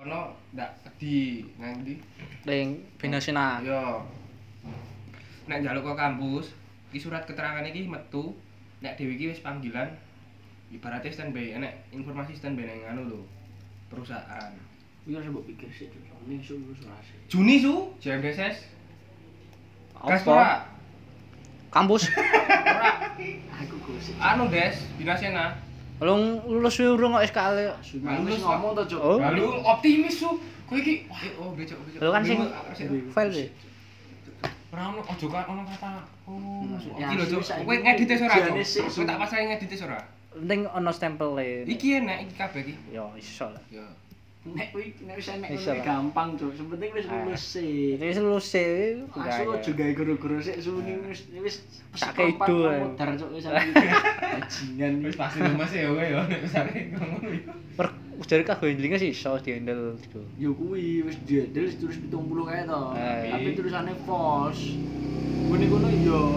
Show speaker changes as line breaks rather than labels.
no ndak wedi nang ndi?
Ring Binasina.
Yo. Nek njaluk ke kampus, iki surat keterangan iki metu. Nek dhewe iki wis panggilan ibaratnya standby, enek informasi standby nang anu lho. Perusahaan.
Wih, harus mbok pikir sih, ini suruh suruh sih.
Juni su, JMDSS. Gas
Apa?
ora?
Kampus.
Ora.
Aku gosip.
Anu, Des, binasena.
Belum lulus wih, urung kok SKL.
Aku
Bagus,
wis ngomong to, Cuk.
Oh.
Lalu optimis su. Kowe iki, wah, eh, oh becok becok.
Lho kan sing- Fail sih.
ora ono ojo kan ono kata. Oh,
Hmm,
su.
ya,
Iki lho, Cuk.
susah
Kowe
iki.
ngedit wis ora, Cuk.
Jane sih, Su.
Kowe tak pasrahi ngedit wis ora.
Penting ono stempel e.
Iki enak iki kabeh iki.
Yo iso lah.
Ya.
Nek kuwi nek wis enek
Bisa
ngono
lah.
gampang, Cuk. Sepenting wis
Ah.
lulus sih.
Iki lulus e. sih.
Asu aja gawe guru-guru sik suni wis wis
Tak
seperempat
keido,
kamu
ayo.
dar cuk wis aku. Bajingan
Wis
wis.
pasti lemes ya kowe ya nek misale ngono ya.
Per jare kagak handlingnya sih iso dihandle gitu.
Ya kuwi wis diedel wis tulis 70 kae to.
Eh.
Tapi tulisannya false. Kuwi kono yo